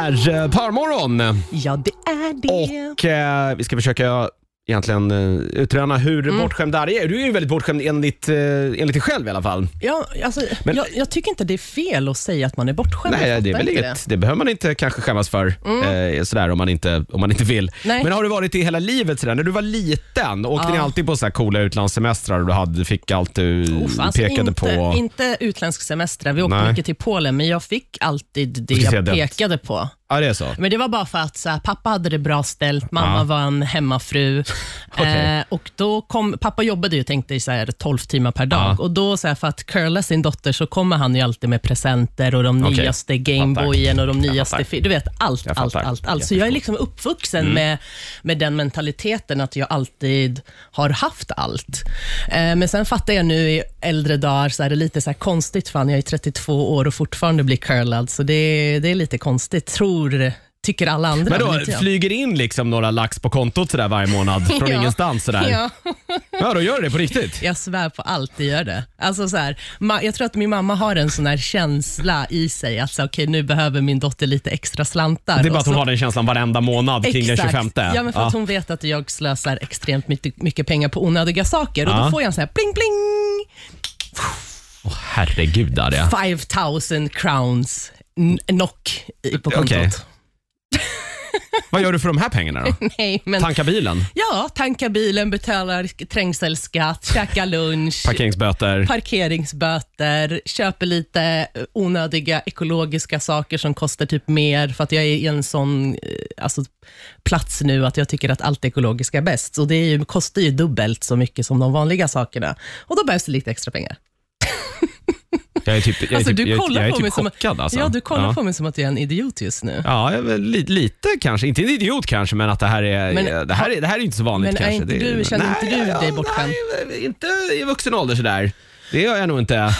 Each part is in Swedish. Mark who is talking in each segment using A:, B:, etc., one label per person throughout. A: är eh, parmorgon
B: Ja, det är det.
A: och eh, vi ska försöka egentligen eh, utröna hur
B: Mm.
A: bortskämd Darja är. Du är ju väldigt bortskämd enligt, eh, enligt dig själv i alla fall.
B: Ja, alltså,
A: Men-
B: jag, jag tycker inte det är fel att säga att man är bortskämd.
A: Nej,
B: Jag
A: det, är
B: fattar
A: väl
B: inte
A: inget, det. behöver man inte kanske skämmas för eh, sådär, om, man inte, om man inte vill.
B: Nej.
A: Men har du varit det hela livet? Sådär? När du var liten, åkte
B: Ja.
A: ni alltid på sådär coola utlandssemestrar och du hade, fick allt du
B: Oh, fan, alltså,
A: pekade
B: inte,
A: på?
B: Inte utländsk semester. Vi åkte
A: Nej.
B: mycket till Polen, men jag fick alltid det
A: Du ser
B: jag
A: det.
B: pekade på.
A: Ja, det är så.
B: Men det var bara för att så här, pappa hade det bra ställt, mamma
A: Ja.
B: var en hemmafru.
A: Okej.
B: eh, och då kom, pappa jobbade ju tänkte jag, så här, 12 timmar per dag.
A: Ja.
B: Och då så här, För att curla sin dotter så kommer han ju alltid med presenter och de
A: Okej.
B: nyaste Gameboyen och de nyaste...
A: fattar.
B: fi- Du vet, allt,
A: Jag
B: allt,
A: fattar.
B: allt,
A: Jag
B: allt. Så jag är liksom uppvuxen
A: Mm.
B: med, med den mentaliteten att jag alltid har haft allt. Eh, men sen fattar jag nu i äldre dagar så är det lite så här konstigt, fan jag är 32 år och fortfarande blir curlad, så det, det är lite konstigt, tror, tycker alla andra.
A: Men då
B: vet jag.
A: flyger in liksom några lax på kontot sådär varje månad från
B: Ja.
A: ingenstans sådär? Ja.
B: Ja,
A: då gör det på riktigt?
B: jag svär på allt, det gör det. Alltså så här, ma- jag tror att min mamma har en sån här känsla i sig, att så, okay, nu behöver min dotter lite extra slantar.
A: Det är bara
B: Och
A: att hon
B: så-
A: har den känslan varenda månad kring den 25.
B: Alltså- Ja, men för att hon vet att jag slösar extremt mycket, mycket pengar på onödiga saker. Och
A: Ja.
B: Då får jag en sån här bling bling,
A: Åh, herregud Darja.
B: 5000 crowns n- knock i- på kontot.
A: Okej. Vad gör du för de här pengarna då?
B: Nej, men
A: Tanka bilen?
B: ja, tanka bilen, betalar trängselskatt, käka lunch.
A: Parkeringsböter?
B: parkeringsböter, köper lite eh, onödiga ekologiska saker som kostar typ mer, för att jag är i en sån eh, alltså, plats nu att jag tycker att allt ekologiskt är bäst. Och det är ju, kostar ju dubbelt så mycket som de vanliga sakerna. Och då behövs det lite extra pengar.
A: Jag är typ, jag är
B: Alltså,
A: typ,
B: du
A: jag,
B: kollar
A: jag är
B: på
A: typ
B: mig som,
A: chockad alltså.
B: Ja, du kollar på mig som att jag är en idiot just nu.
A: Ja, jag är väl li, lite kanske. Inte en idiot kanske, men att det här är,
B: Men-
A: det här är, det här är inte så vanligt
B: Men är
A: kanske.
B: inte
A: Det
B: du- känner
A: nej,
B: inte du dig bortskämd?
A: Nej, inte i vuxen ålder sådär. Det gör jag nog inte.
B: Mm.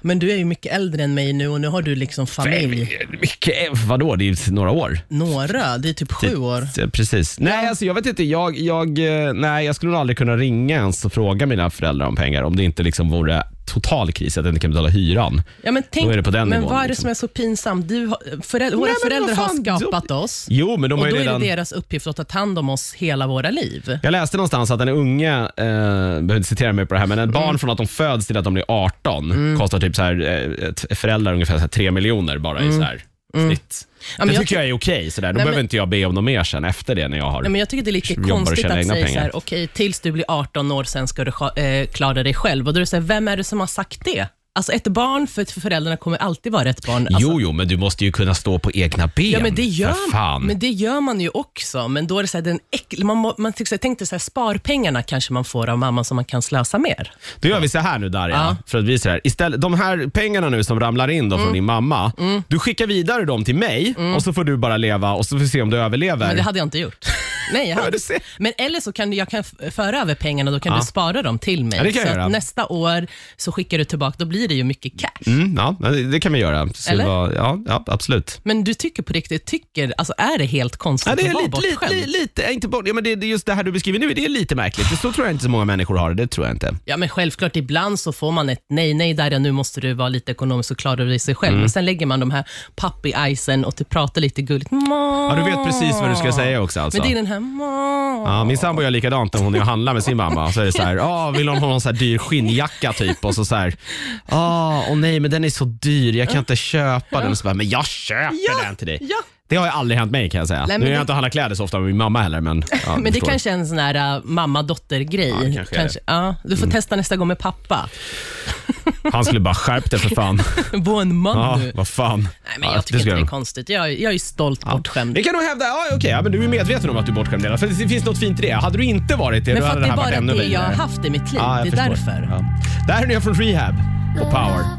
B: Men du är ju mycket äldre än mig nu och nu har du liksom familj.
A: Mycket, vadå, det är ju några år.
B: Några, det är typ sju år.
A: Ja, Precis. Nej, alltså jag vet inte. Jag, jag, eh, nej, jag skulle nog aldrig kunna ringa ens och fråga mina föräldrar om pengar om det inte liksom vore total kris att jag inte kan betala hyran.
B: Ja, men tänk,
A: är det på den
B: men
A: nivån,
B: vad är det
A: liksom.
B: som är så pinsamt? Du har, föräldrar, våra
A: Nej, men
B: föräldrar
A: vad fan,
B: har skapat oss.
A: Jo, men de
B: Och
A: har
B: då
A: ju
B: är
A: redan...
B: det deras uppgift att ta hand om oss hela våra liv.
A: Jag läste någonstans att en unge, eh, behöver inte citera mig på det här, men en
B: Mm.
A: barn från att de föds till att de blir 18 kostar typ så här, eh, ett- föräldrar ungefär så här 3 miljoner bara i så här snitt.
B: Mm. men
A: det
B: jag
A: tycker jag är okej. sådär. Då
B: men-
A: behöver inte jag be om något mer sen efter det när jag har...
B: Nej, men jag tycker det är lite
A: Jobbar och
B: konstigt
A: tjänar
B: att
A: egna
B: säga så
A: pengar.
B: här, okej, tills du blir 18 år, sen ska du scha- eh, klara dig själv. Och då är det så här, vem är det som har sagt det? Alltså ett barn för för föräldrarna kommer alltid vara ett barn. Alltså,
A: jo, jo, men du måste ju kunna stå på egna ben.
B: Ja, men det,
A: För
B: gör,
A: fan.
B: men det gör man ju också, men då är det så här, den äck, man, må- man tycker så här, tänkte så här, sparpengarna kanske man får av mamma som man kan slösa mer.
A: Då gör vi så här nu Darja,
B: Ja.
A: för att vi är så här. Istället, de här pengarna nu som ramlar in då från din mamma, du skickar vidare dem till mig och så får du bara leva och så får vi se om du överlever.
B: Men det hade jag inte gjort. Nej, jag
A: Ja,
B: hade.
A: du ser.
B: Men eller så kan du, jag kan f- föra över pengarna, då kan
A: Ja.
B: du spara dem till mig.
A: Ja, det kan jag
B: så
A: göra.
B: att nästa år så skickar du tillbaka, då blir det ju mycket cash.
A: Mm, ja, det- det kan vi göra. Så
B: Eller?
A: vad- ja, ja, absolut.
B: Men du tycker på riktigt, tycker, alltså är det helt konstigt
A: Ja, det är
B: att vara
A: lite, lite,
B: bortskämd?
A: lite, lite ja, inte bort, ja, men det, det är just det här du beskriver nu, det är lite märkligt. Det så tror jag inte så många människor har det, det tror jag inte.
B: Ja, men självklart, ibland så får man ett nej, nej, där nu måste du vara lite ekonomisk och klara dig sig
A: Mm.
B: själv. Men sen lägger man de här pappi-icen och typ pratar lite gulligt.
A: Ja,
B: Ja,
A: du vet precis vad du ska säga också alltså.
B: Men det är den här "Må."
A: Ja, min sambo gör likadant när hon är och handlar med sin mamma. Så är det så här, ah, vill hon ha någon så här dyr skinnjacka typ? Och så så här, ah, åh nej men den är så dyr, jag kan inte köpa den. Och så bara, men jag köper
B: Ja,
A: den till dig.
B: ja.
A: Det har ju aldrig hänt mig kan jag säga.
B: men
A: nu är jag
B: det-
A: inte och handlar kläder så ofta med min mamma heller. Men, ja, du
B: Men det
A: förstår.
B: kanske är en sån här äh, mamma-dotter-grej.
A: det Mm. kanske är
B: ja, du får testa nästa gång med pappa.
A: Han skulle bara skärpt det för fan.
B: Var en man
A: Ja,
B: du.
A: vad fan.
B: Nej, men
A: Ja,
B: jag tycker
A: ska
B: inte det är
A: jag-
B: konstigt. Jag, jag är stolt bortskämd.
A: Vi kan nog hävda, ja okej, ja, men du är medveten om att du är bortskämd redan. För det finns något fint i det. Hade du inte varit det,
B: Men
A: då
B: för
A: hade
B: att det
A: det
B: är
A: här
B: bara
A: varit ännu
B: det jag har
A: vidare.
B: haft i mitt liv.
A: Ja, jag
B: det är
A: förstår.
B: därför.
A: Ja. Det här är nya från Rehab på Power.